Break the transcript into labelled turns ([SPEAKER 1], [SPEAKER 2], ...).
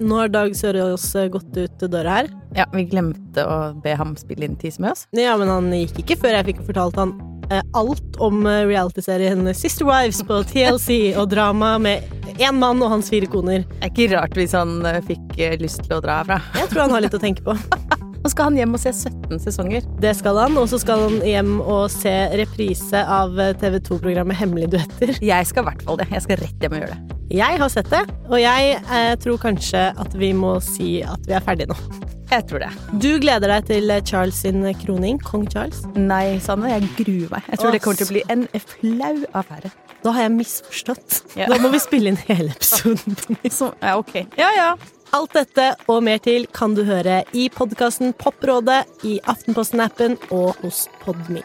[SPEAKER 1] Nå har Dag Sørås gått ut døra her.
[SPEAKER 2] Ja, vi glemte å be ham spille inn tease med oss.
[SPEAKER 1] Ja, men han gikk ikke før jeg fikk fortalt han eh, alt om eh, realityserien Sister Wives på TLC og drama med én mann og hans fire koner.
[SPEAKER 2] Det er ikke rart hvis han eh, fikk eh, lyst til å dra herfra.
[SPEAKER 1] Jeg tror han har litt å tenke på.
[SPEAKER 2] Nå skal han hjem og se 17 sesonger.
[SPEAKER 1] Det skal han, og så skal han hjem og se reprise av eh, TV 2-programmet Hemmelige duetter.
[SPEAKER 2] Jeg skal i hvert fall det. Jeg skal rett hjem og gjøre det.
[SPEAKER 1] Jeg har sett det, og jeg eh, tror kanskje at vi må si at vi er ferdige nå.
[SPEAKER 2] Jeg tror det.
[SPEAKER 1] Du gleder deg til Charles sin kroning, kong Charles.
[SPEAKER 2] Nei, Sanne, jeg gruer meg. Jeg tror
[SPEAKER 1] Åh,
[SPEAKER 2] det kommer til å bli en flau affære.
[SPEAKER 1] Da har jeg misforstått.
[SPEAKER 2] Ja.
[SPEAKER 1] Da må vi spille inn hele episoden på nytt.
[SPEAKER 2] Så, ja, ok. Ja, ja.
[SPEAKER 1] Alt dette og mer til kan du høre i podkasten Poprådet, i Aftenposten-appen og hos Podme.